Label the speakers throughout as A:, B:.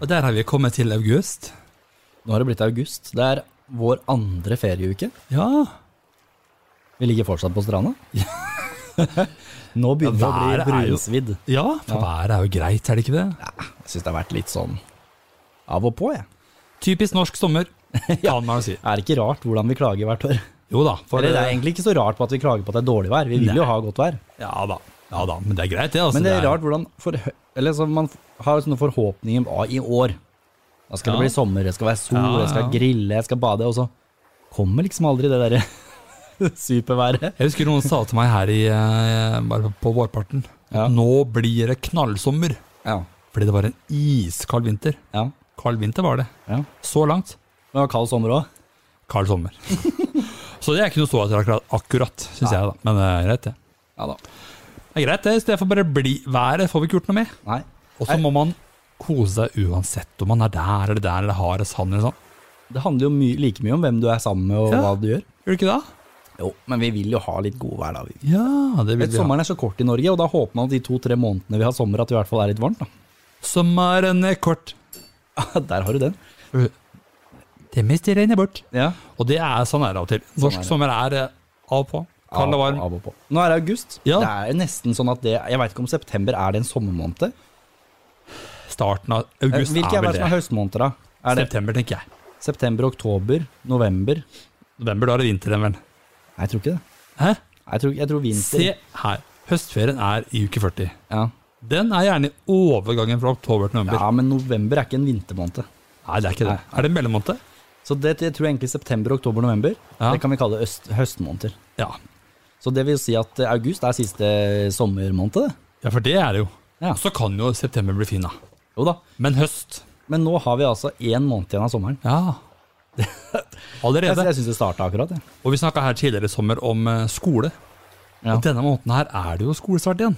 A: Og der har vi kommet til august.
B: Nå har det blitt august. Det er vår andre ferieuke.
A: Ja.
B: Vi ligger fortsatt på stranda. Nå
A: Ja,
B: begynner det å
A: været er
B: bli
A: jo-
B: brunsvidd.
A: Ja, for været er jo greit, er det ikke det?
B: Jeg syns det har vært litt sånn av og på, jeg.
A: Typisk norsk sommer, kan man jo si.
B: Er det ikke rart hvordan vi klager hvert år?
A: Jo da. For eh,
B: Eller det er egentlig ikke så rart på at vi klager på at det er dårlig vær. Vi vil jo
A: Nei.
B: ha godt vær.
A: Ja da. Ja da, men det er greit, det. altså.
B: Men det er rart hvordan for, eller så man har sånne forhåpninger om ah, i år. Da skal
A: Ja.
B: det bli sommer, det skal være sol,
A: Ja,
B: jeg skal
A: ja.
B: grille, jeg skal bade. Og så kommer liksom aldri det derre superværet.
A: Jeg husker noen sa til meg her i, eh, bare på vårparten
B: Ja.
A: at nå blir det knallsommer.
B: Ja.
A: Fordi det var en iskald vinter.
B: ja.
A: Kald vinter var det.
B: ja. Men
A: Så langt
B: det var kald sommer òg.
A: kald sommer. så det er ikke noe så etter akkurat, akkurat syns jeg, da. Men det er greit, det.
B: Ja da.
A: Det er greit, det. I stedet for bare bli været, får vi ikke gjort noe med.
B: Nei.
A: Og så må man kose seg uansett om man er der eller der eller har sand eller sånn.
B: Det handler jo my like mye om hvem du er sammen med og
A: Ja.
B: hva du gjør.
A: Gjør det ikke det?
B: Jo, men vi vil jo ha litt god vær, da. Vi.
A: Ja, det vil
B: Vet,
A: vi ha.
B: sommeren er så kort i Norge, og da håper man at de to-tre månedene vi har sommer, at det i hvert fall er litt varmt. da.
A: Sommeren er kort.
B: Der har du den.
A: Det mister regnet bort.
B: Ja.
A: Og det er sånn er det av og til. Norsk
B: er det.
A: sommer er eh, av og på. Kald og varm.
B: Av, av og på. Nå er det august.
A: Ja.
B: Det er nesten sånn at det, Jeg veit ikke om september er det en sommermåned.
A: Starten av
B: Eh,
A: august
B: Hvilke er
A: er vel
B: det som er
A: det.
B: høstmåneder, da? Er det
A: September, tenker jeg.
B: september, oktober, november?
A: November, da er det vinter igjen, vel.
B: Nei, jeg tror ikke det.
A: Hæ?
B: Jeg tror, jeg tror vinter
A: Se her. Høstferien er i uke 40.
B: ja.
A: Den er gjerne i overgangen fra oktober til november.
B: ja, men november er ikke en vintermåned.
A: Nei, det er ikke det.
B: Nei.
A: Er det mellommåned?
B: Så det, det tror jeg egentlig september, oktober, november.
A: Ja.
B: Det kan vi kalle øst, høstmåneder.
A: Ja.
B: Så det vil si at eh, august er siste eh, sommermåned. det.
A: ja, for det er det jo.
B: Ja.
A: Så kan jo september bli fin, da.
B: Jo da.
A: Men høst
B: Men nå har vi altså én måned igjen av sommeren.
A: Ja.
B: Jeg,
A: Allerede.
B: jeg syns det starta akkurat. jeg.
A: Og vi snakka her tidligere i sommer om eh, skole.
B: Ja.
A: Og denne måneden her er det jo skolestart igjen.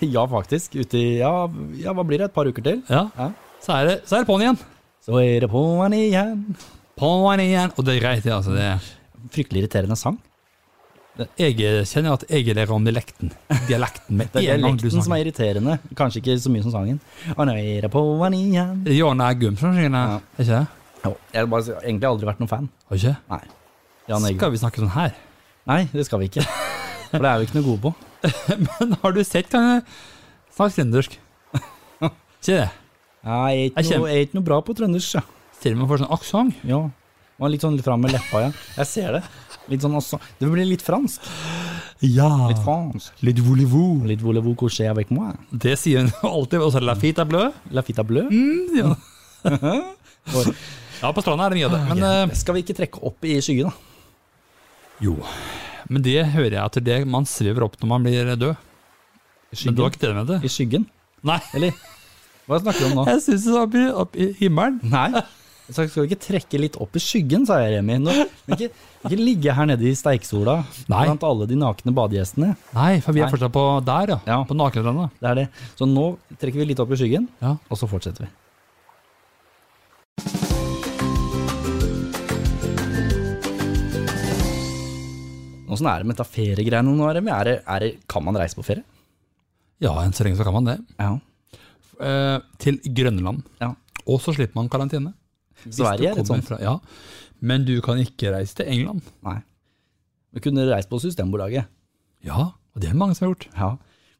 B: Ja, faktisk. Ute i ja, ja, hva blir det? Et par uker til?
A: Ja.
B: Ja.
A: Så er det, så er det på'n igjen.
B: Så er det på'n igjen.
A: På'n igjen. Og det er greit, det. Altså, det.
B: Fryktelig irriterende sang.
A: Jeg kjenner at jeg lærer om dialekten. Dialekten med
B: Det er
A: en gang du
B: dialekten som
A: snakker.
B: er irriterende, kanskje ikke så mye som sangen. Å, nå er det på'n igjen.
A: Det er Jan Eggum som synger den,
B: Ja.
A: er ikke det?
B: Jo, jeg har bare s- egentlig aldri vært noen fan.
A: Har ikke?
B: Nei. Jan Eggum.
A: Skal vi snakke sånn her?
B: Nei, det skal vi ikke. For det er vi ikke noe gode på.
A: Men har du sett kan jeg snakke trøndersk? Si det.
B: Ja,
A: Jeg
B: Jeg er ikke
A: kjem-
B: noe, jeg er ikke noe bra på trøndersk. Ja.
A: Til og med får sånn aksent.
B: ja. Man er litt sånn fram med leppa, ja. Jeg ser det. Litt sånn også. Det blir litt fransk.
A: Ja.
B: Litt fransk.
A: Litt voulez-vous.
B: Litt voulez-vous coucher avec moi?
A: Det sier hun alltid. Og så er det la fita blø.
B: La fita bleu?
A: Ja.
B: Oi.
A: ja, på stranda er det mye av det. Men
B: Men,
A: eh,
B: skal vi ikke trekke opp i skyen, da?
A: jo. Men det hører jeg at det er det man svever opp når man blir død.
B: I
A: Men du har
B: skyggen?
A: ikke det med det?
B: I skyggen?
A: Nei.
B: Eller hva snakker du om nå?
A: Jeg syns det er opp i, opp i himmelen.
B: Nei. Jeg sa, Skal vi ikke trekke litt opp i skyggen, sa jeg, Remi. Nå, ikke, ikke ligge her nede i steiksola
A: Nei.
B: blant alle de nakne badegjestene.
A: Nei, for vi er
B: Nei.
A: fortsatt på der, ja.
B: Ja.
A: På nakenstranda.
B: Det er det. Så nå trekker vi litt opp i skyggen,
A: Ja.
B: og så fortsetter vi. Åssen er det med dette feriegreiene nå, Remi? Er det, er det, kan man reise på ferie?
A: ja, enn så lenge så kan man det.
B: Ja.
A: Eh, til Grønland.
B: ja.
A: Og så slipper man karantene. Hvis
B: Sverige
A: du
B: er litt
A: kommer
B: sånn.
A: Fra, ja. Men du kan ikke reise til England.
B: Nei. Vi kunne reist på Systembolaget.
A: Ja, og det er mange som har gjort.
B: Ja.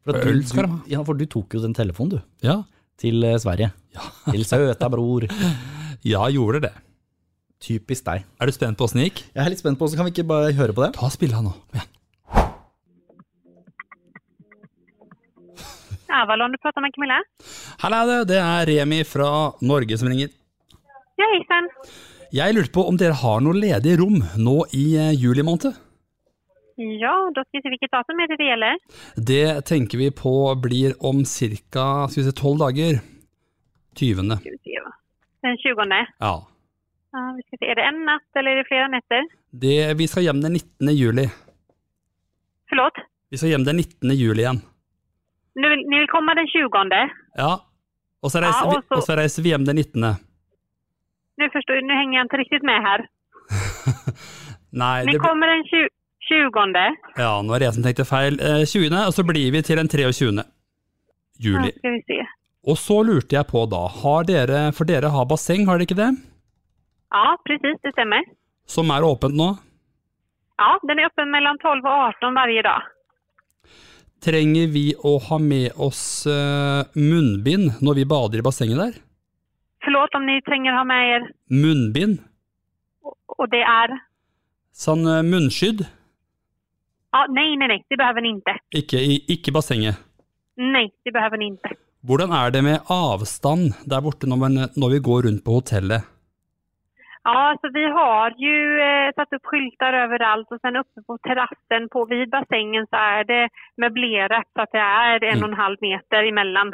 B: For, at
A: Øl
B: du,
A: skal de
B: du,
A: ha.
B: ja, for du tok jo den telefonen, du.
A: Ja,
B: til eh, Sverige. Til søta bror.
A: ja gjorde det.
B: Typisk deg.
A: Er du spent på åssen det gikk?
B: Jeg er litt spent på, så kan vi ikke bare høre på det?
A: Ta spillet nå. Kom igjen.
C: Avalon, du pratar med Camilla.
A: Halla, det, det er Remi fra Norge som ringer.
C: Ja, hejsan.
A: Jeg lurte på om dere har noe ledig rom nå i eh, juli måned?
C: Ja, då ska vi se vilket datum är det det gäller.
A: Det tenker vi på blir om ca. tolv dager. 20.
C: Ska vi se. Den 20.
A: Ja.
C: Ja, vi ska se. Är det en natt eller är det flera nätter?
A: Det, vi skal hjem den 19. juli.
C: Förlåt?
A: Vi skal hjem den 19. juli igjen.
C: Nu vill, ni vill komma den 20?
A: Ja. Og så reiser,
C: Ja, og
A: vi,
C: så-
A: og så reiser vi hjem den 19.
C: Nu, förstår, nu hänger jag inte riktigt med här.
A: Nei,
C: Ni
A: det, blir-
C: kommer den 20? 20.
A: ja, nå har jeg som tenkte feil. Eh, 20., og så blir vi til den 23.
C: Ja,
A: juli.
C: ska vi se.
A: Og så lurte jeg på da, har dere, for dere har basseng, har dere ikke det?
C: Ja, precis, det stämmer.
A: Som er åpent nå.
C: Ja, den är öppen mellan 12 och 18 varje dag.
A: Trenger vi å ha med oss eh, munnbind når vi bader i bassenget der?
C: Förlåt om ni tränger ha med er,
A: Munnbind?
C: och det är...
A: Sånn eh, munnskydd?
C: Ja, nej, nej, nej, det behöver ni inte.
A: Ikke i ikke bassenget.
C: Nej, det behöver ni inte.
A: Hvordan er det med avstand der borte når, man, eh, når vi går rundt på hotellet?
C: Ja, så vi har ju eh, satt upp skyltar överallt och sen uppe på terrassen på, vid bassängen så är det möblerat så att det är en och en halv meter emellan.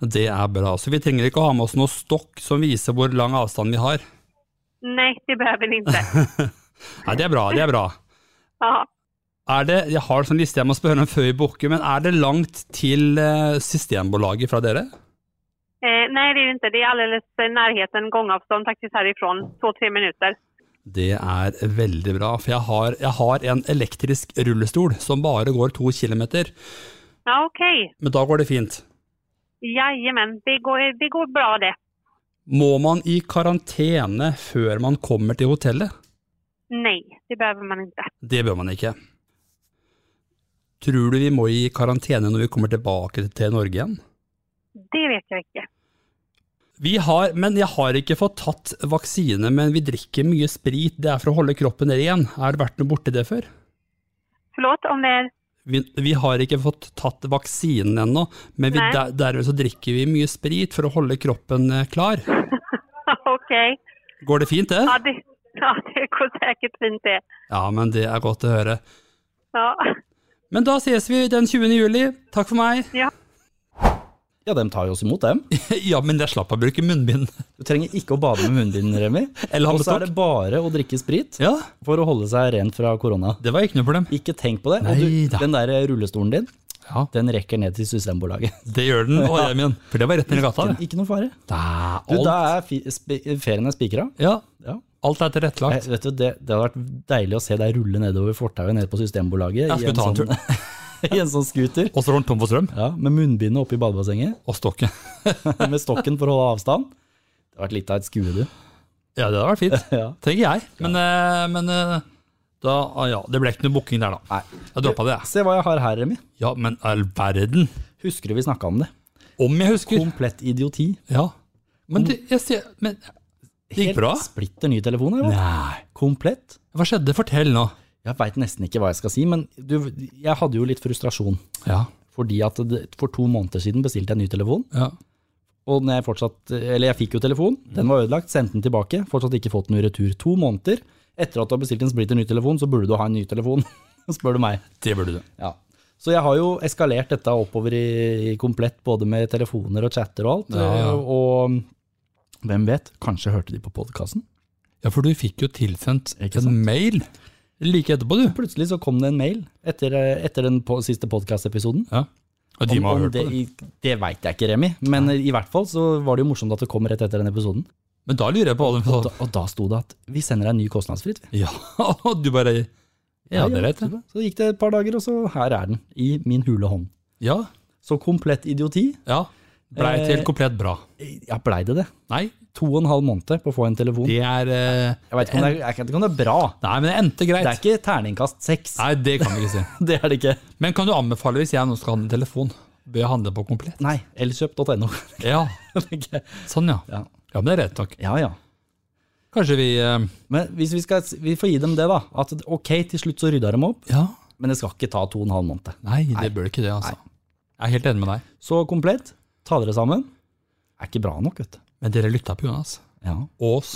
A: Det er bra, så vi trenger ikke å ha med oss noe stokk som viser hvor lang avstand vi har.
C: Nej, det behöver ni inte.
A: Nei, det er bra, det er bra.
C: Ja.
A: Er det, jeg har en sånn liste jeg må spørre om før vi booker, men er det langt til eh, systembolaget fra dere?
C: Eh, nej, det är det inte. Det är alldeles i närheten, gångavstånd faktiskt härifrån, två, tre minuter.
A: Det er veldig bra, for jeg har, jeg har en elektrisk rullestol som bare går to kilometer,
C: Ja, okej.
A: men da går det fint.
C: Jajamän, det går, eh, det går bra det.
A: Må man i karantene før man kommer til hotellet?
C: Nej, det behöver man inte.
A: Det bør man ikke. Tror du vi må i karantene når vi kommer tilbake til Norge igjen?
C: Det vet jag inte.
A: Vi har, men jeg har ikke fått tatt vaksine, men vi drikker mye sprit. Det er for å holde kroppen ren. Er det vært noe borti det før?
C: Förlåt om det är...
A: Vi, vi har ikke fått tatt vaksinen ennå, men vi,
C: Nei.
A: der, dermed så drikker vi mye sprit for å holde kroppen eh, klar.
C: okej.
A: Går det fint, det?
C: Ja, det, ja, det går säkert fint det.
A: Ja, men det er godt å høre.
C: Ja.
A: Men da ses vi den 20. juli. Takk for meg.
B: Ja, dem tar jo oss imot, dem.
A: Ja, men jeg slapp å bruke munnbind.
B: Du trenger ikke å bade med munnbind, Remi.
A: Eller ha
B: Og
A: med
B: så er
A: stokk.
B: det bare å drikke sprit
A: Ja,
B: for å holde seg ren fra korona.
A: det var ikke noe problem.
B: Ikke tenk på det. Og du,
A: Neida.
B: den der rullestolen din,
A: Ja.
B: den rekker ned til Systembolaget.
A: Det gjør den, og hjem igjen. For det var rett ned i gata. det.
B: Ikke noe fare.
A: Da,
B: Du,
A: alt.
B: da er fi, spi, ferien er spikra.
A: Ja,
B: Ja.
A: alt er
B: Eh,
A: tilrettelagt.
B: vet du, det, det hadde vært deilig å se deg rulle nedover fortauet nede på Systembolaget
A: Jeg
B: i
A: skulle
B: en,
A: ta en
B: sånn, i en sånn scooter.
A: Og så var den tom for strøm.
B: Ja, Med munnbindet oppe i badebassenget,
A: Og stokken.
B: med stokken for å holde avstand. Det hadde vært litt av et skue, du.
A: Ja, det hadde vært fint.
B: Ja.
A: Trenger jeg. Men, eh, men eh, da, ah, ja, det ble ikke noe booking der, da.
B: Nei.
A: Jeg droppa det, jeg.
B: Se hva jeg har her, Remi.
A: Ja, men all verden.
B: Husker du vi snakka om det?
A: Om jeg husker.
B: Komplett idioti.
A: Ja. Men det, jeg ser Men det gikk bra?
B: Helt splitter ny telefon. Eller?
A: Nei.
B: Komplett.
A: Hva skjedde? Fortell nå.
B: Jeg veit nesten ikke hva jeg skal si, men du, jeg hadde jo litt frustrasjon.
A: Ja.
B: Fordi at det, For to måneder siden bestilte jeg ny telefon.
A: ja.
B: Og når jeg fortsatt, eller jeg fikk jo telefon, den var ødelagt, sendte den tilbake. Fortsatt ikke fått den i retur. To måneder etter at du har bestilt en splitter ny telefon, så burde du ha en ny telefon. Spør du meg.
A: Det burde du.
B: Ja. Så jeg har jo eskalert dette oppover i, i komplett, både med telefoner og chatter og alt. eh,
A: Ja, ja.
B: Og, hvem vet, kanskje hørte de på podkasten?
A: Ja, for du fikk jo tilsendt
B: Ikke
A: en mail like etterpå, du.
B: Plutselig så kom det en mail etter, eh, etter den po siste podkastepisoden.
A: Ja. Og de må ha hørt
B: det
A: på det.
B: i- det veit jeg ikke, Remi, men i hvert fall så var det jo morsomt at det kom rett etter den episoden.
A: Men da lurer jeg på hva de
B: Da,
A: sa.
B: og da sto det at vi sender deg en ny kostnadsfritt. vi.
A: Ja, og du bare Ja, det er rett. ja.
B: Så gikk det et par dager, og så her er den, i min hule hånd.
A: Ja.
B: Så komplett idioti.
A: ja. Blei
B: Eh,
A: helt komplett bra.
B: Ja, blei det det?
A: Nei,
B: To og en halv måned på å få en telefon.
A: det er eh,
B: Jeg vet ikke om det er, jeg vet ikke om det er bra.
A: Nei, men det endte
B: Det
A: greit.
B: er ikke terningkast seks.
A: Nei, det kan vi ikke si.
B: Det er det ikke.
A: Men kan du anbefale hvis jeg nå skal handle telefon? Bør jeg handle på komplett?
B: Nei, elkjøp.no.
A: Ja, sånn ja.
B: Ja.
A: Ja, men det er rett nok.
B: ja, ja.
A: Kanskje vi eh,
B: Men hvis vi, skal, vi får gi dem det, da. At ok, til slutt så rydda de opp,
A: Ja.
B: men det skal ikke ta to og en halv måned.
A: Nei, det bør ikke det, altså. Jeg er helt enig med deg.
B: Så komplett, ta dere sammen. Er ikke bra nok, vet du.
A: Men dere lytta på Jonas.
B: Ja.
A: Og oss.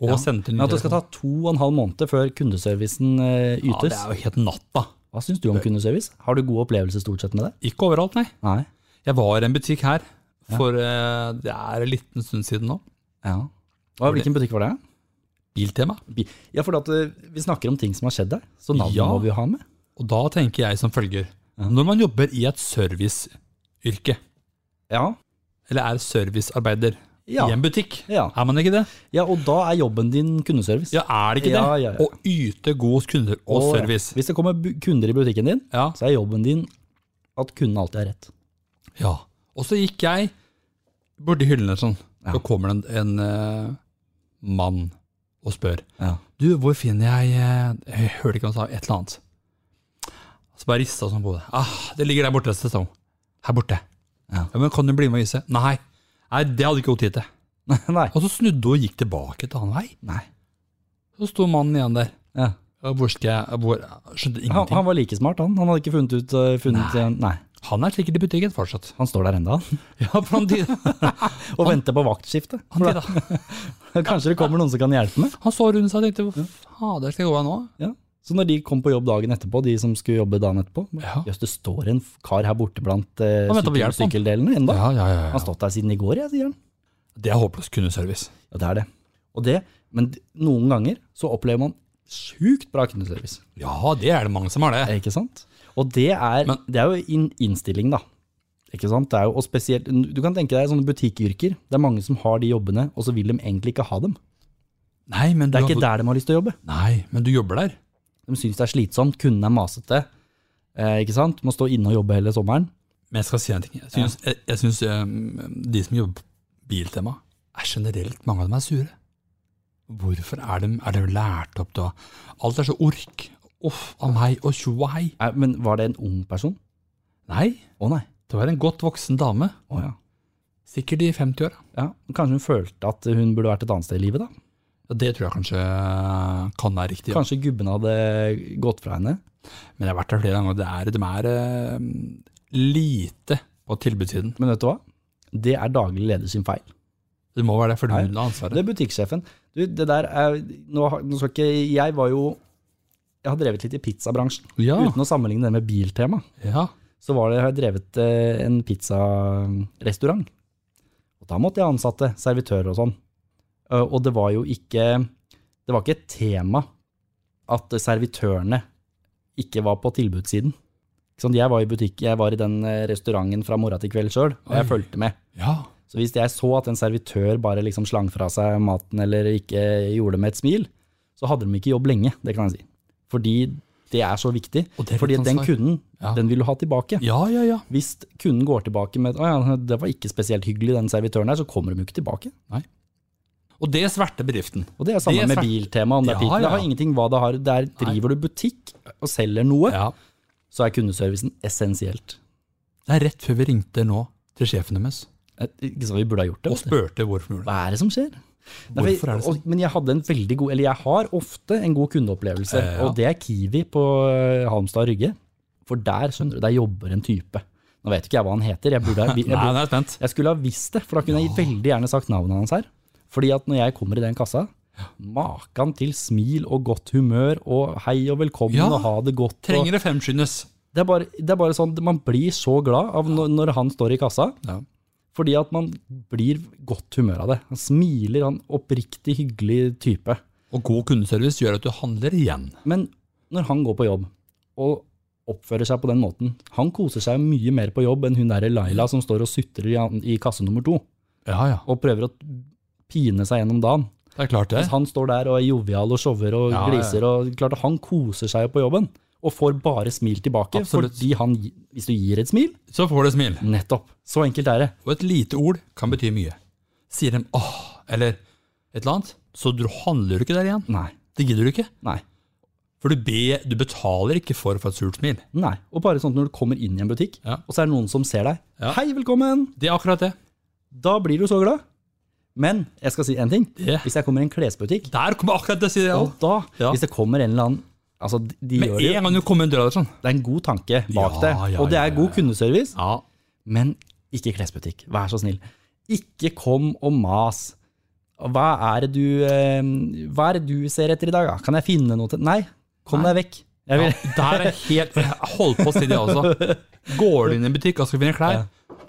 A: Og sendte ny
B: Men at det skal ta to og en halv måned før kundeservicen eh,
A: Ja, det
B: ytes.
A: er jo helt natta.
B: Hva syns du om kundeservice? Har du god opplevelse stort sett med det?
A: Ikke overalt, nei.
B: Nei.
A: Jeg var i en butikk her for eh, det er en liten stund siden nå.
B: Ja. Hva, hvilken butikk var det?
A: Biltema.
B: Bi- Ja, for at eh, vi snakker om ting som har skjedd der, så navnet
A: Ja.
B: må vi jo ha med.
A: Og da tenker jeg som følger. Når man jobber i et serviceyrke,
B: Ja.
A: eller er servicearbeider
B: Ja.
A: i en butikk,
B: Ja.
A: er man ikke det?
B: ja, og da er jobben din kundeservice.
A: Ja, er det ikke
B: Ja,
A: det?
B: ja, ja.
A: Å yte god kunder og
B: Og
A: service.
B: Hvis det kommer bu- kunder i butikken din,
A: Ja.
B: så er jobben din at kunden alltid har rett.
A: ja. Og så gikk jeg Borti hyllene sånn.
B: Ja.
A: Så kommer det en, en eh, mann og spør.
B: Ja.
A: Du, hvor finner jeg eh, Jeg hørte ikke hva han sa, et eller annet. Så bare rista sånn på det. Ah, det ligger der borte, sa hun. Her borte.
B: Ja.
A: ja, Men kan du bli med og vise? Nei. Nei, det hadde ikke hun tid til.
B: Nei.
A: Og så snudde hun og gikk tilbake til annen vei.
B: Nei.
A: Så sto mannen igjen der.
B: Ja.
A: «Ja, Hvor skal jeg hvor, jeg Skjønte
B: Han,
A: ingenting.
B: han var like smart, han. Han hadde ikke funnet ut eh, funnet, Nei. Nei.
A: Han er sikkert i butikken fortsatt.
B: Han står der enda, han.
A: Ja, for han, han,
B: Og venter på vaktskiftet.
A: han,
B: Kanskje det kommer noen som kan hjelpe med.
A: han så rundt seg og tenkte hva fader skal jeg gå her nå?
B: Ja. Så når de kom på jobb dagen etterpå, de som skulle jobbe dagen etterpå
A: Ja.
B: Jøss, det står en f- kar her borte blant eh,
A: Han venter på
B: sykkel-
A: hjelp, han.
B: sykkeldelene ennå.
A: Ja, ja, ja,
B: Han
A: ja.
B: har stått der siden i går, jeg, sier han.
A: Det er håpløs kundeservice.
B: Ja, det er det. Og det, men d- noen ganger så opplever man sjukt bra kundeservice.
A: Ja, det er det mange som har det.
B: Eh, Ikke sant? Og det er,
A: Men-
B: det er jo inn- innstilling, da. Ikke sant? Det er jo, og spesielt, du kan tenke deg sånne butikkyrker. Det er mange som har de jobbene, og så vil de egentlig ikke ha dem.
A: Nei, men du,
B: Det er ikke
A: har-
B: der de har lyst til å jobbe.
A: Nei, men du jobber der.
B: De syns det er slitsomt, kunden er masete. Eh, ikke sant? Må stå inne og jobbe hele sommeren.
A: Men jeg skal si en ting. Jeg syns, jeg, jeg syns ehm, de som jobber på Biltema, er generelt mange av dem er sure. Hvorfor er de, er de lært opp da? Alt er så ork. Uff a meg og tjo og hei.
B: Eh, men var det en ung person?
A: Nei,
B: Å nei.
A: det var en godt voksen dame.
B: Å ja.
A: Sikkert i 50-åra.
B: ja. Kanskje hun følte at hun burde vært et annet sted i livet, da.
A: Ja, Det tror jeg kanskje kan være riktig.
B: Kanskje gubben hadde gått fra henne.
A: Men jeg har vært der flere ganger, og det er, de er ehm, lite på tilbudssiden.
B: Men vet du hva? Det er daglig leder sin feil.
A: Det må være det, for
B: Nei,
A: hun har ansvaret.
B: Det er butikksjefen. Du, det der er Nå, har- nå skal ikke Jeg var jo Jeg har drevet litt i pizzabransjen.
A: ja,
B: Uten å sammenligne det med biltema,
A: ja.
B: så var det, har jeg drevet eh, en pizzarestaurant. Og da måtte jeg ha ansatte, servitører og sånn. Eh, Og det var jo ikke Det var ikke et tema at servitørene ikke var på tilbudssiden. Ikke sant? Jeg var i butikk, jeg var i den eh, restauranten fra morgen til kveld sjøl, og jeg
A: Oi.
B: fulgte med.
A: ja.
B: Så hvis jeg så at en servitør bare liksom slang fra seg maten eller ikke gjorde det med et smil, så hadde de ikke jobb lenge, det kan jeg si. Fordi det er så viktig.
A: Og det er
B: Fordi
A: litt
B: den
A: ansvar.
B: kunden,
A: Ja.
B: den vil du ha tilbake.
A: Ja, ja, ja.
B: Hvis kunden går tilbake med at «Å ja, det var ikke spesielt hyggelig, den servitøren her, så kommer de jo ikke tilbake.
A: Og det sverter bedriften.
B: Og det er samme
A: Det er
B: med
A: svært-
B: biltema. om Det, er
A: Ja,
B: pizza.
A: ja.
B: det har ingenting hva det har. Der driver du butikk og selger noe,
A: Ja.
B: så er kundeservicen essensielt.
A: Det er rett før vi ringte nå til sjefen deres
B: Eh, Ikke sant, vi burde ha gjort det.
A: og
B: vet du.
A: spurte hvorfor vi gjorde det.
B: Hva er det som skjer? Nei,
A: Hvorfor
B: for-
A: er det sånn?
B: Og, men jeg hadde en veldig god, eller jeg har ofte en god kundeopplevelse,
A: Eh, ja.
B: og det er Kiwi på eh, Halmstad og Rygge. For der, skjønner du, der jobber en type. Nå vet ikke jeg hva han heter, jeg, burde, ha- jeg,
A: Nei,
B: burde,
A: jeg er spent.
B: jeg skulle ha visst det, for da kunne jeg veldig gjerne sagt navnet hans her. Fordi at når jeg kommer i den kassa, makan til smil og godt humør og hei og velkommen
A: Ja.
B: og ha det godt. og,
A: Trenger det fremskyndes?
B: det er, bare, det er bare sånn, man blir så glad av når, når han står i kassa,
A: Ja.
B: fordi at man blir godt humør av det. Han smiler, han er oppriktig hyggelig type.
A: Og god kundeservice gjør at du handler igjen.
B: Men når han går på jobb og oppfører seg på den måten, han koser seg mye mer på jobb enn hun der Laila som står og sutrer i, an- i kasse nummer to,
A: Ja, ja.
B: og prøver å pine seg gjennom dagen.
A: Det er klart det.
B: Mens han står der og er jovial og shower og
A: Ja, ja.
B: gliser, og klart at han koser seg på jobben, og får bare smil tilbake,
A: Absolutt.
B: fordi han, gi- hvis du gir et smil,
A: Så får du smil.
B: Nettopp. Så enkelt er det.
A: Og et lite ord kan bety mye. Sier de åh, eller et eller annet, så du handler du ikke der igjen.
B: Nei.
A: Det gidder du ikke.
B: Nei.
A: For du, be, du betaler ikke for for et surt smil.
B: Nei. Og bare sånn at når du kommer inn i en butikk,
A: Ja.
B: og så er det noen som ser deg.
A: Ja.
B: Hei, velkommen!
A: Det er akkurat det.
B: Da blir du så glad. Men jeg skal si en ting.
A: Det.
B: Hvis jeg kommer i en klesbutikk,
A: Der kommer akkurat det, sier jeg.
B: og da,
A: Ja.
B: hvis det kommer en eller annen Altså, de, de
A: Med
B: gjør
A: en
B: det, jo.
A: gang du kommer inn døra der sånn.
B: det er en god tanke bak
A: Ja,
B: det.
A: ja,
B: og det
A: ja,
B: er
A: ja,
B: god
A: ja.
B: kundeservice,
A: Ja.
B: men ikke klesbutikk. Vær så snill. Ikke kom og mas. Hva er det du, eh, hva er det du ser etter i dag? da? Kan jeg finne noe til Nei, kom deg vekk. Jeg vil,
A: Der er helt Jeg holdt på å si det, altså. Går du inn i en butikk og skal finne klær,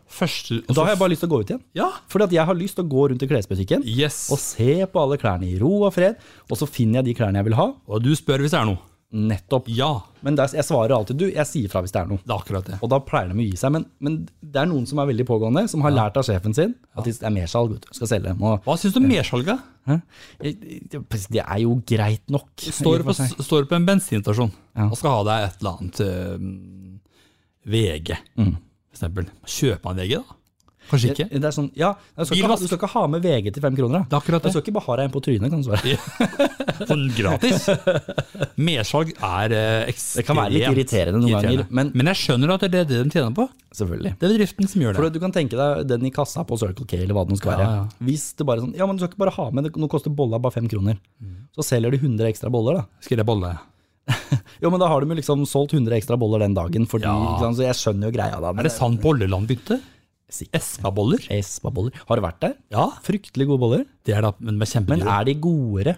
A: første og
B: Da
A: så-
B: har jeg bare lyst til å gå ut igjen.
A: Ja.
B: Fordi at jeg har lyst til å gå rundt i klesbutikken
A: Yes.
B: og se på alle klærne i ro og fred, og så finner jeg de klærne jeg vil ha.
A: Og du spør hvis det er noe.
B: Nettopp.
A: Ja.
B: Men der, jeg svarer alltid du, jeg sier fra hvis det er noe.
A: Det er akkurat det.
B: Og da pleier de å gi seg. Men, men det er noen som er veldig pågående, som har lært av sjefen sin at det er mersalg, vet du. Skal selge dem. Og,
A: Hva syns du om mersalget?
B: Hæ? det er jo greit nok.
A: Står
B: i
A: du
B: og for
A: på,
B: seg.
A: står du på en bensinstasjon
B: Ja.
A: og skal ha deg et
B: Mm.
A: eller annet eh, VG, for eksempel. Kjøper man VG, da? Kanskje ikke?
B: Det er sånn, ja, du skal, ikke, ha-
A: Bilvask.
B: du skal ikke ha med VG til fem kroner.
A: Det
B: Da.
A: er akkurat
B: Du
A: det.
B: skal ikke bare ha deg en på trynet, kan det være.
A: Sånn gratis. Mersalg er eh, ekstremt
B: Det kan være litt irriterende noen
A: irriterende.
B: ganger, men
A: Men jeg skjønner at det er det de tjener på.
B: selvfølgelig.
A: Det er bedriften som gjør
B: For
A: det.
B: du kan tenke deg den i kassa på Circle K eller hva det nå skal være.
A: Ja, ja.
B: Hvis det bare er sånn, ja, men du skal ikke bare ha med, det- nå koster bolla bare fem kroner.
A: Mm.
B: Så selger du 100 ekstra boller da.
A: Skal jeg bolle?
B: Jo, men da har de jo liksom solgt 100 ekstra boller den dagen, fordi,
A: Ja.
B: ikke sant, så jeg skjønner jo greia da. men
A: Er det sant bolleland begynte?
B: Sikkert.
A: Espa-boller?
B: Espa-boller. Har du vært der?
A: Ja,
B: Fryktelig gode boller.
A: det er da, men de er
B: Men
A: kjempedyre.
B: er de godere?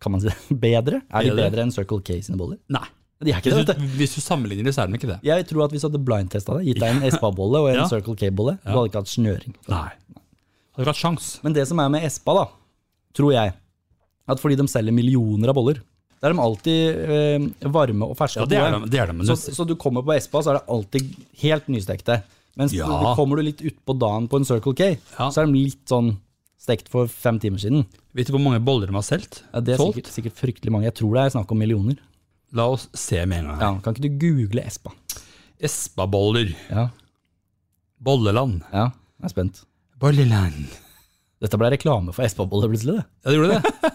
B: Kan man si det? Bedre? Er de
A: Bedre.
B: bedre enn Circle K sine boller?
A: Nei.
B: De er ikke det,
A: Hvis
B: vet
A: du,
B: du.
A: hvis du sammenligner det, så er de ikke det.
B: Jeg tror at hvis du hadde blindtesta det, gitt deg en Espa-bolle og en
A: Ja.
B: Circle K-bolle, du hadde ikke hatt snøring.
A: Nei. Hadde ikke hatt sjans.
B: Men det som er med Espa, da, tror jeg, at fordi de selger millioner av boller, da er de alltid eh, varme og ferske.
A: Ja,
B: og
A: det er
B: gode.
A: de, det er de men
B: så,
A: du,
B: så du kommer på Espa, så er det alltid helt nystekte. Mens
A: Ja.
B: du, kommer du litt utpå dagen på en Circle K,
A: Ja.
B: så er de litt sånn stekt for fem timer siden.
A: vet du hvor mange boller de har solgt?
B: Ja, det er
A: Solgt?
B: sikkert, sikkert fryktelig mange. Jeg tror det er snakk om millioner.
A: La oss se med en gang.
B: Ja, kan ikke du google Espa?
A: Espa-boller.
B: Ja,
A: Bolleland.
B: ja, jeg er spent.
A: Bolleland.
B: Dette ble reklame for Espa-boller plutselig, det.
A: Ja, det gjorde det.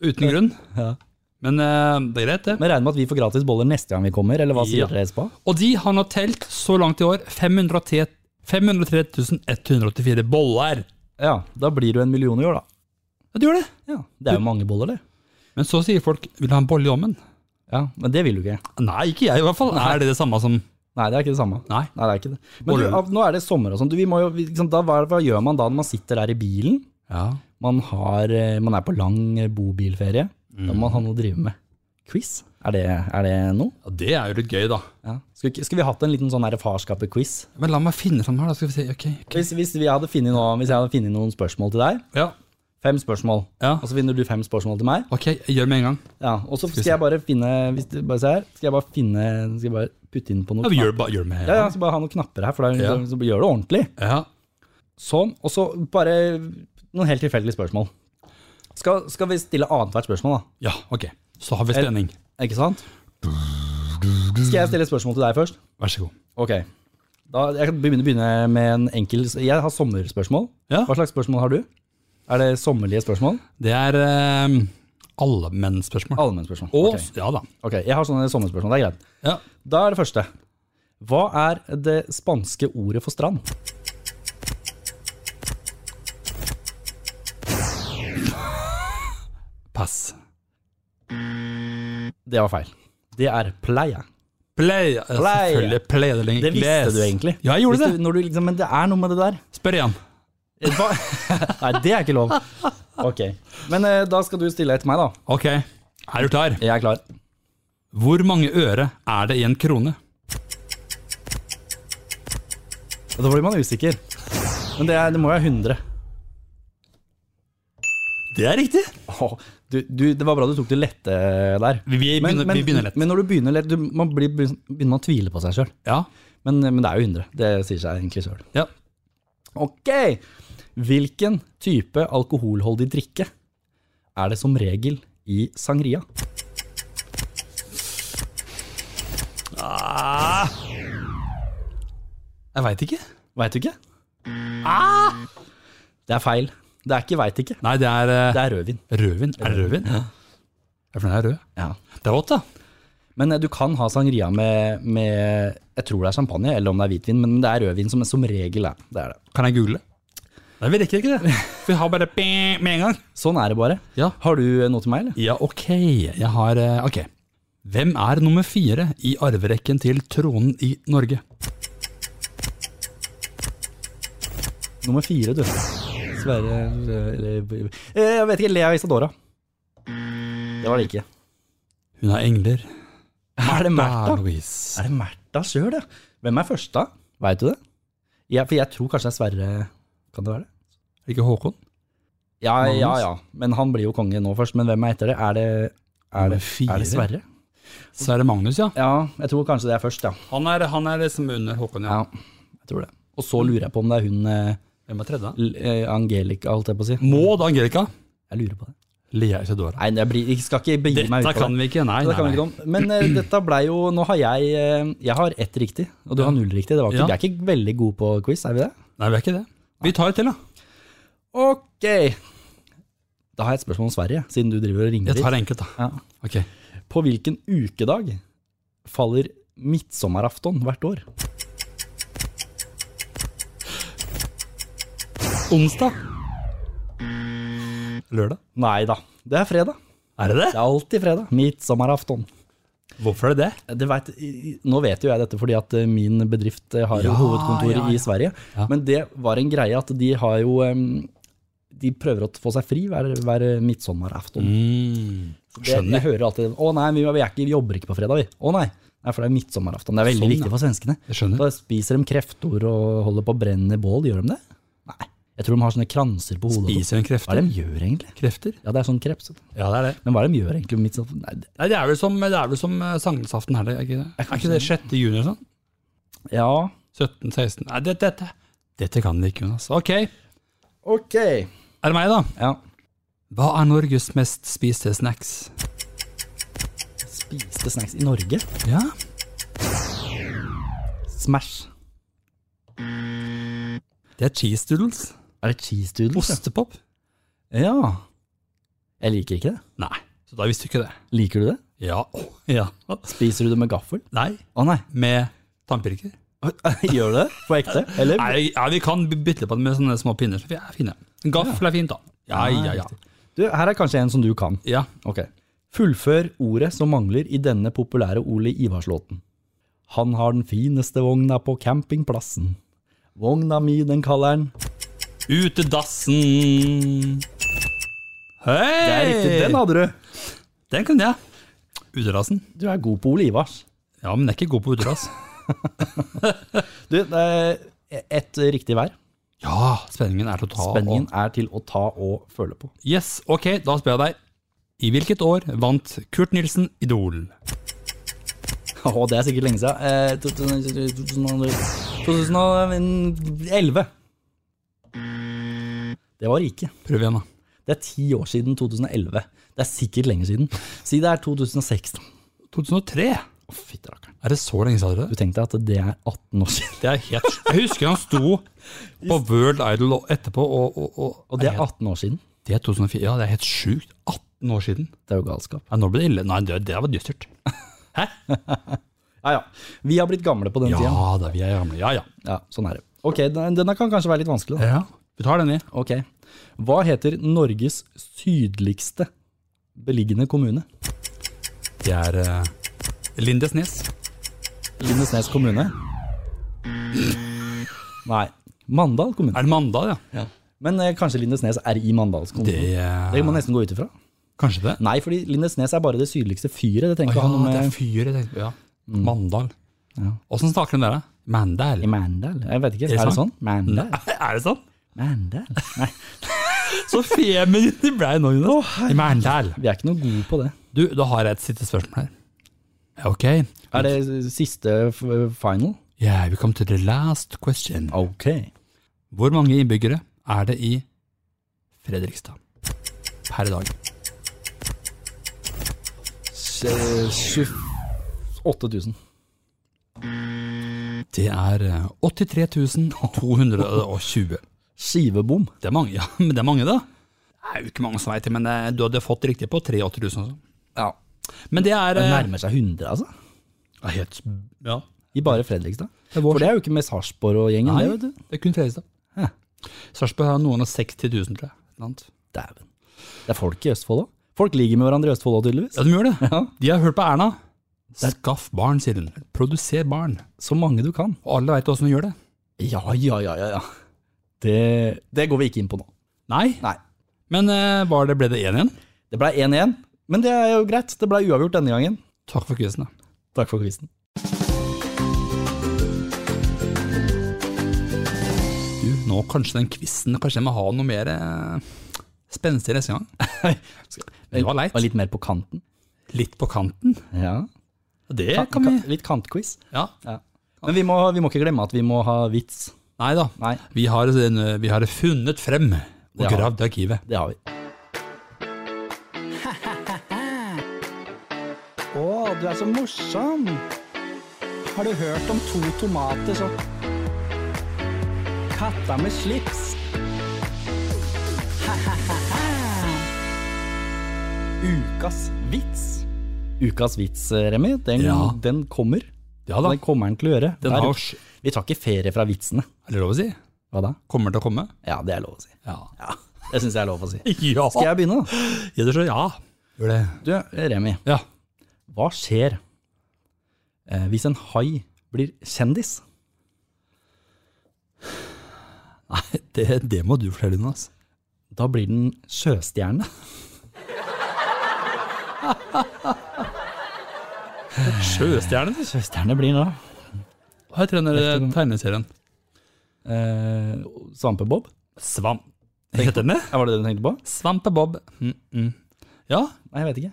A: Uten grunn.
B: Ja.
A: Men eh, det er greit, det.
B: Men regner med at vi får gratis boller neste gang vi kommer, eller hva sier
A: Ja.
B: dere, Espa?
A: Og de har nå telt så langt i år 503 184 boller.
B: Ja, da blir du en million i år, da.
A: Ja, det gjør det.
B: Ja, Det er jo mange boller, det.
A: Men så sier folk vil du ha en bolle i ommen?
B: Ja, Men det vil du ikke.
A: Nei, ikke jeg i hvert fall. Er det det samme som
B: Nei, det er ikke det samme.
A: Nei.
B: Nei, det er ikke det. Men du,
A: Boller.
B: av- nå er det sommer og sånn. Du, vi må jo, vi- liksom, da, hva, hva gjør man da når man sitter der i bilen?
A: Ja.
B: Man, har, eh, man er på lang eh, bobilferie. Da må man ha noe å drive med. Quiz? Er det, er det noe?
A: Det er jo litt gøy, da.
B: Ja. Skulle, ikke- skulle vi hatt en liten sånn her farskapet-quiz?
A: Men la meg finne fram her, da. Skal vi se. Ok. ok.
B: Hvis, hvis, vi hadde funnet noe, hvis jeg hadde funnet noen spørsmål til deg,
A: Ja.
B: fem spørsmål,
A: ja.
B: og så finner du fem spørsmål til meg,
A: Ok, jeg gjør det med en gang.
B: ja, og så
A: vi
B: skal
A: se.
B: jeg bare finne hvis du bare ser her, skal jeg bare finne, skal jeg bare putte inn på noe
A: Ja, vi gjør det ba- gjør det med en
B: Ja,
A: gang.
B: ja, så bare ha noen knapper her, for da
A: Ja.
B: så gjør det ordentlig.
A: Ja.
B: Sånn, og så bare noen helt tilfeldige spørsmål. Skal, skal vi stille annethvert spørsmål, da?
A: ja, ok. Så har vi spenning.
B: Ikke sant? Skal jeg stille et spørsmål til deg først?
A: Vær så god.
B: Ok. Da, jeg kan begynne, begynne med en enkel Jeg har sommerspørsmål.
A: Ja.
B: Hva slags spørsmål har du? Er det sommerlige spørsmål?
A: Det er eh, allmennspørsmål.
B: Allmennspørsmål.
A: Og
B: Ok.
A: Ja da.
B: ok, jeg har sånne sommerspørsmål. Det er greit.
A: Ja.
B: Da er det første. Hva er det spanske ordet for strand?
A: Pass.
B: Det var feil. Det er playa.
A: Play. Ja,
B: Play.
A: Selvfølgelig. Play. Det,
B: Det visste du egentlig.
A: Ja, jeg gjorde
B: Hvis
A: det. Eh,
B: Du, når du liksom, men det er noe med det der.
A: Spør igjen.
B: Hva? Nei, det er ikke lov. Ok. Men eh, da skal du stille et til meg, da.
A: Ok, er du klar?
B: Jeg er klar.
A: Hvor mange øre er det i en krone?
B: Og da blir man usikker. Men det, er, det må jo være 100.
A: Det er riktig.
B: Åh, du, du, det var bra du tok det lette eh, der.
A: Vi, vi, begynner, vi begynner lett.
B: Men når du begynner lett, du, man blir, begynner man å tvile på seg sjøl.
A: ja.
B: Men, eh, men det er jo 100. Det sier seg egentlig sjøl.
A: ja.
B: Ok! Hvilken type alkoholholdig drikke er det som regel i sangria?
A: Jeg veit ikke.
B: Veit du ikke? Ah! Det er feil. Det er ikke veit ikke.
A: Nei, det er eh,
B: Det er rødvin.
A: rødvin. Er det rødvin? Ja. For den er rød.
B: Ja.
A: Det er godt, da.
B: Men eh, du kan ha sangria med, med Jeg tror det er champagne, eller om det er hvitvin, men det er rødvin som, som regel er. Det er det.
A: Kan jeg google? Nei, vi rekker ikke det. Vi har bare bing med en gang.
B: Sånn er det bare.
A: Ja.
B: Har du eh, noe til meg, eller?
A: Ja, ok. Jeg har eh, Ok. Hvem er nummer fire i arverekken til tronen i Norge?
B: Nummer fire, du. Sverre eh, eller, eh, Jeg vet ikke. Lea Isadora. Det var det ikke.
A: Hun har engler.
B: Er det
A: Da,
B: Märtha?
A: Louise.
B: Er det Märtha sjøl, ja? Hvem er første? Veit du det? Ja, for jeg tror kanskje det er Sverre Kan det være det?
A: Er det ikke Håkon?
B: Ja,
A: Magnus?
B: ja, ja. Men han blir jo konge nå først. Men hvem er etter det? Er det, er det,
A: Nummer
B: er det
A: fire?
B: Sverre?
A: Så er det Magnus, ja.
B: Ja, jeg tror kanskje det er først, ja.
A: Han er, han er liksom under Håkon, ja.
B: Ja, jeg tror det. Og så lurer jeg på om det er hun eh,
A: Hvem er tredje?
B: L- eh, Angelica, holdt jeg på å si.
A: Maud Angelica.
B: Jeg lurer på det.
A: Lea Isadora.
B: Nei, jeg, blir, jeg skal ikke begi meg ut
A: Dette
B: på
A: kan
B: det.
A: vi ikke, nei.
B: Dette
A: nei,
B: kan vi
A: nei.
B: ikke noe om. Men eh, dette blei jo Nå har jeg eh, Jeg har ett riktig, og du har null riktig. Det var ikke,
A: Ja.
B: Vi er ikke veldig gode på quiz, er vi det?
A: nei, vi er ikke det. Vi tar et til, da.
B: Ok. Da har jeg et spørsmål om Sverige, siden du driver og ringer
A: Jeg
B: dit.
A: tar enkelt, da.
B: Ja.
A: Ok.
B: På hvilken ukedag faller midtsommerafton hvert år?
A: Onsdag. Lørdag.
B: Nei da, det er fredag.
A: Er det
B: Det er alltid fredag. Midtsommerafton.
A: Hvorfor er det det?
B: Det vet, nå vet jo jeg dette fordi at eh, min bedrift har jo
A: Ja,
B: hovedkontor
A: ja, ja.
B: i Sverige.
A: Ja.
B: Men det var en greie at de har jo em, De prøver å få seg fri hver, hver midtsommerafton. Det, jeg
A: Mm. Skjønner.
B: hører alltid 'Å nei, vi, vi, er ikke, vi jobber ikke på fredag, vi'. Å nei. nei, for det er midtsommerafton. Det er
A: Sånn,
B: veldig
A: ja.
B: viktig for svenskene.
A: Jeg skjønner.
B: Da spiser de kreftor og holder på å brenne bål. Gjør de det? Nei. Jeg tror de har sånne kranser på hodet.
A: Spiser en
B: Hva er
A: krefter?
B: det de gjør egentlig?
A: Krefter?
B: Ja, det er sånn kreps.
A: Ja, det er det.
B: Men hva er det de gjør egentlig? på midtsommer- Nei, det-
A: Nei, det er vel som, det er vel som eh, sankthansaften her, er ikke det? Er ikke det 6. juni eller sånn?
B: ja,
A: 17, 16 Nei, dette, dette. Dette kan vi ikke, Jonas. Ok, er
B: ok.
A: det meg, da?
B: Ja.
A: Hva er Norges mest spiste snacks?
B: Spiste snacks i Norge?
A: Ja,
B: Smash.
A: det er cheese doodles.
B: Er det cheese doodles? ja?
A: Ostepop.
B: Ja. Jeg liker ikke det.
A: Nei, så da visste du ikke det.
B: Liker du det?
A: Ja. Å, ja.
B: Spiser du det med gaffel?
A: Nei,
B: Å nei.
A: med tannpirker.
B: Gjør du det? På ekte? Eller?
A: Nei, ja, vi kan bytte på det med sånne små pinner. Så vi er fine. Gaffel er fint, da. Ja, ja, ja.
B: Du, her er kanskje en som du kan.
A: ja.
B: Ok. Fullfør ordet som mangler i denne populære Ole Ivarslåten. Han har den fineste vogna på campingplassen. Vogna mi, den kaller han.
A: Utedassen. Hei!
B: Det er riktig, den hadde du.
A: Den kunne jeg. Utedassen.
B: Du er god på Ole Ivars.
A: Ja, men jeg er ikke god på utedass.
B: Du, det er et riktig vær.
A: ja, spenningen er til å ta.
B: Spenningen er til å ta og føle på.
A: Og. Yes, ok, da spør jeg deg. I hvilket år vant Kurt Nilsen Idol?
B: Å, det er sikkert lenge siden. Eh, 2000 2011. Det var det ikke.
A: Prøv igjen, da.
B: Det er ti år siden 2011. Det er sikkert lenge siden. Si det er 2006. da.
A: 2003?
B: Å, fytti rakkeren.
A: Er det så lenge siden?
B: Du
A: dere?
B: tenkte at det er 18 år siden.
A: Det er helt Jeg husker han sto på World Idol og etterpå, og, og, og,
B: Og det er 18 år siden.
A: det er 2004. Ja, det er helt sjukt. 18 år siden.
B: Det er jo galskap.
A: Ja, nå ble det ille. Nei, det, det var dystert.
B: Ja, ja. Vi har blitt gamle på den
A: Ja
B: tiden.
A: da, vi er gamle. Ja ja.
B: Ja, sånn er det. Ok, den- denne kan kanskje være litt vanskelig. Da.
A: ja. Vi tar den i.
B: Ok. Hva heter Norges sydligste beliggende kommune?
A: Det er eh, Lindesnes.
B: Lindesnes kommune? Nei. Mandal kommune.
A: Er det mandag, ja?
B: Men eh, kanskje Lindesnes er i Mandals kommune?
A: Det, eh,
B: Det må man nesten gå ut ifra.
A: Kanskje det?
B: Nei, fordi Lindesnes er bare det sydligste fyret. Det
A: Å
B: trenger ikke
A: ja,
B: ha noe
A: det er
B: med
A: fyret, tenkte jeg. Mm. Ja. Mandal.
B: Ja.
A: Åssen snakker de der, da? Mandal?
B: I Mandal? Jeg vet ikke.
A: det
B: Er det sånn?
A: sant?
B: Mandal?
A: Er det sånn?
B: Mandal? Nei.
A: Så feminin de ble nå, Jonas. I Mandal.
B: Vi er ikke noe gode på det.
A: Du, da har jeg et siste spørsmål her. Ok.
B: Er det siste f- final?
A: Yeah, we come to the last question.
B: Ok.
A: Hvor mange innbyggere er det i Fredrikstad per i dag?
B: 28 000.
A: Det er eh, 83 220.
B: Skivebom.
A: Det er mange, ja, men det er mange da. Det er jo ikke mange som vet det, men eh, du hadde fått riktig på 83 000. altså.
B: Ja.
A: Men det er
B: Det
A: eh,
B: nærmer seg 100, altså.
A: ja, helt, ja.
B: I bare Fredrikstad.
A: er vår
B: For det er jo ikke med Sarpsborg og gjengen.
A: Nei,
B: det, vet du.
A: det er kun Fredrikstad.
B: Ja.
A: Sarpsborg har noen og 60 000, tror jeg. eller annet.
B: Dæven. Det er folk i Østfold òg. Folk ligger med hverandre i Østfold òg, tydeligvis.
A: Ja, de gjør det.
B: Ja.
A: De har hørt på Erna. Skaff barn, sier hun. Produser barn.
B: Så mange du kan.
A: Og alle veit åssen hun gjør det.
B: Ja, ja, ja, ja. ja. Det, det går vi ikke inn på nå.
A: Nei,
B: Nei.
A: men eh, var det, ble det 1 igjen?
B: Det ble 1-1, men det er jo greit. Det ble uavgjort denne gangen.
A: Takk for quizen, da.
B: Takk for quizen.
A: Du, nå kanskje den quizen Kanskje jeg må ha noe mer eh, spenstig neste gang? Det var leit.
B: Og litt mer på kanten.
A: Litt på kanten.
B: Ja.
A: Det
B: Ka-
A: kan vi
B: ka- Litt kantquiz.
A: Ja.
B: Ja. Men vi må, vi må ikke glemme at vi må ha vits.
A: Nei da.
B: Nei,
A: Vi har, eh, en- vi har funnet frem og
B: Det har vi.
A: gravd i arkivet.
B: det har vi. Å, du er så morsom! Har du hørt om to tomater som katta med slips. Ukas vits. Ukas vits, eh, Remi, den,
A: Ja.
B: den kommer.
A: Ja da.
B: Den kommer den til å gjøre.
A: Den
B: Der-
A: har oss.
B: Vi tar ikke ferie fra vitsene.
A: Er det lov å si?
B: Hva da?
A: Kommer til å komme?
B: Ja, det er lov å si.
A: Ja.
B: Det syns jeg er lov å si.
A: Ja.
B: Skal jeg begynne, da?
A: Ja, det er så ja. Gjør det.
B: Du, Remi,
A: Ja.
B: hva skjer eh, hvis en hai blir kjendis?
A: Nei, det, det må du fortelle, Jonas.
B: Da blir den sjøstjerne.
A: Sjøstjerne, du.
B: Sjøstjerne blir den da
A: Hva heter den der tegneserien?
B: eh, Svampebob?
A: Svamp. Heter den det?
B: Ja, var det det du tenkte på?
A: Svampebob. Mm -mm. Ja.
B: Nei, jeg vet ikke.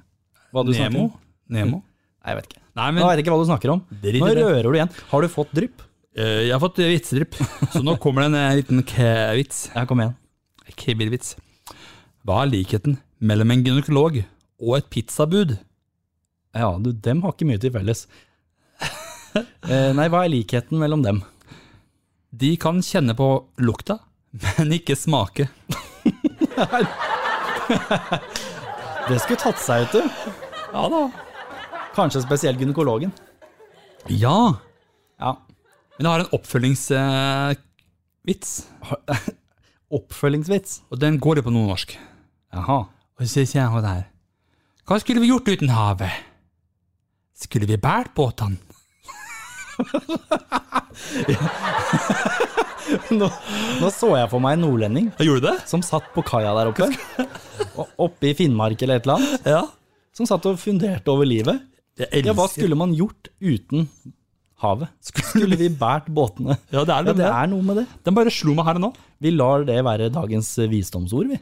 B: Hva du snakker
A: Nemo.
B: om?
A: Nemo.
B: Nei, jeg vet ikke.
A: Nei,
B: Nå
A: men
B: vet jeg ikke hva du snakker om.
A: Drit i
B: Nå
A: det.
B: rører du igjen. Har du fått drypp?
A: eh, jeg har fått vitsedrypp, så nå kommer det en eh, liten k-vits.
B: Ja, kom igjen.
A: Kribbelvits. Hva er likheten mellom en gynekolog og et pizzabud?
B: Ja, du, dem har ikke mye til felles. Eh, nei, hva er likheten mellom dem?
A: De kan kjenne på lukta, men ikke smake.
B: Det skulle tatt seg ut, du.
A: Ja da.
B: Kanskje spesielt gynekologen.
A: Ja,
B: Ja.
A: men jeg har en eh, oppfølgingsvits,
B: Oppfølgingsvits.
A: og den går jo på noe norsk.
B: Jaha.
A: Og så sier hun der, hva skulle vi gjort uten havet? Skulle vi bært båtene?
B: Nå, nå så jeg for meg en nordlending
A: Gjorde du det?
B: som satt på kaia der oppe. og Oppe i Finnmark eller et eller annet.
A: Ja.
B: Som satt og funderte over livet.
A: Jeg
B: Ja,
A: elsker.
B: hva skulle man gjort uten havet? Skulle vi båret båtene?
A: Ja, det er
B: Ja,
A: det.
B: det er noe med det.
A: Den bare slo meg her og nå.
B: Vi lar det være dagens visdomsord, vi.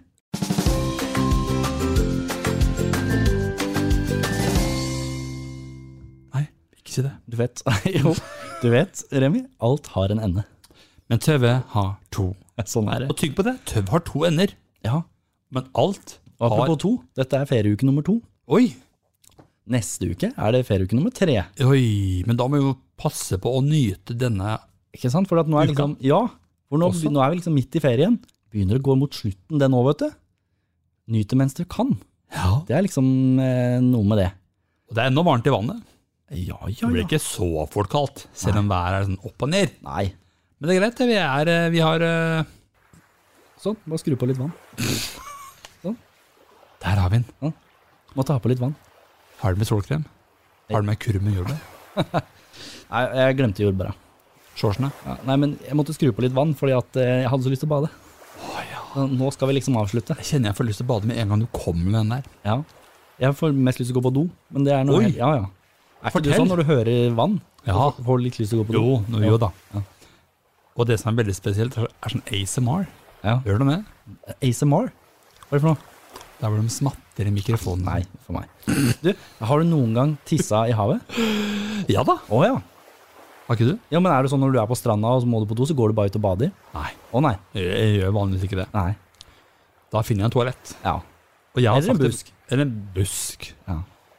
A: Nei, ikke si det.
B: Du vet, jo, du vet, Remi, alt har en ende.
A: Men tøve har to.
B: Sånn er
A: Og
B: det.
A: tygg på det, tøve har to ender.
B: Ja,
A: Men alt
B: og apropos
A: har...
B: to, dette er ferieuke nummer to.
A: Oi,
B: Neste uke er det ferieuke nummer tre.
A: Oi, men da må vi jo passe på å nyte denne
B: Ikke sant? For at nå
A: Uka?
B: er liksom, ja, for nå,
A: Også?
B: nå er vi liksom midt i ferien. Begynner å gå mot slutten den òg, vet du. Nyt det mens du kan.
A: Ja.
B: Det er liksom eh, noe med det.
A: Og det er ennå varmt i vannet.
B: Ja,
A: Det
B: ja,
A: blir
B: ja.
A: ikke så fort kaldt, selv om været er sånn opp og ned.
B: Nei.
A: Men det er greit, det. vi, er, eh, vi har eh,
B: Sånn, bare skru på litt vann.
A: Der har vi den.
B: Må ta på litt vann.
A: Har du med solkrem? Har du med kurv med jordbær?
B: Nei, jeg glemte jordbæra.
A: Shortsene?
B: Ja, nei, men jeg måtte skru på litt vann fordi at eh, jeg hadde så lyst til å bade. Så Nå skal vi liksom avslutte.
A: Jeg kjenner jeg får lyst til å bade med en gang du kommer med den der.
B: Ja. Jeg får mest lyst til å gå på do, men det er noe
A: Oi.
B: helt- Ja, ja. Er ikke
A: Fortell.
B: du sånn når du hører vann?
A: Ja.
B: Så Får du litt lyst til å gå på do?
A: Jo, nå, jo da.
B: Ja.
A: Og det som er veldig spesielt, er sånn ASMR.
B: Ja.
A: Hører du det?
B: ASMR? Hva er det for noe?
A: Der hvor de smatter i mikrofonen.
B: Nei, for meg. Du, har du noen gang tissa i havet?
A: Ja da.
B: Å ja.
A: Har ikke du?
B: ja. Men er det sånn når du er på stranda og så må du på do, så går du bare ut og bader?
A: Nei.
B: Å nei.
A: Jeg, jeg gjør vanligvis ikke det.
B: Nei.
A: Da finner jeg en toalett.
B: Ja.
A: Og jeg har
B: Eller en
A: faktisk- Eller en busk.
B: ja.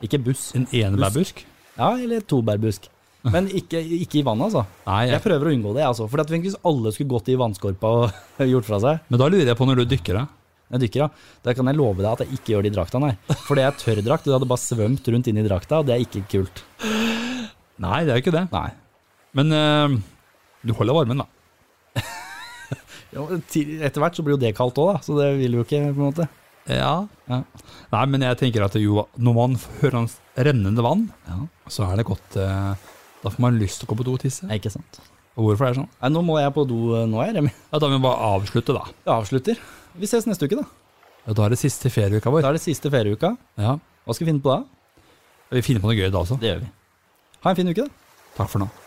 B: Ikke buss.
A: En enebærbusk?
B: Ja, eller tobærbusk. Men ikke, ikke i vannet, altså.
A: Nei,
B: Jeg
A: jeg,
B: prøver å unngå det, altså. For at hvis alle skulle gått i vannskorpa og gjort fra seg
A: men da lurer jeg på når du dykker da.
B: Jeg dykker, ja. Da kan jeg love deg at jeg ikke gjør det i drakta, nei. For det er tørrdrakt, du hadde bare svømt rundt inn i drakta, og det er ikke kult.
A: Nei, det er jo ikke det.
B: Nei.
A: Men eh, du holder varmen, da.
B: Jo, til- Etter hvert så blir jo det kaldt òg, da, så det vil jo ikke, på en måte.
A: Ja.
B: Ja.
A: Nei, men jeg tenker at jo, når man hører hans rennende vann,
B: Ja.
A: så er det godt eh, Da får man lyst til å gå på do og tisse.
B: Nei, ikke sant.
A: Og hvorfor er det sånn?
B: Nei, nå må jeg på do eh, nå, jeg, Remi.
A: Ja, Da må vi bare avslutte, da.
B: Jeg avslutter. Vi ses neste uke, da.
A: Ja, da er det siste ferieuka vår.
B: Da er det siste ferieuka.
A: Ja.
B: Hva skal vi finne på da?
A: Vi finner på noe gøy da også.
B: Det gjør vi. Ha en fin uke, da.
A: Takk for nå.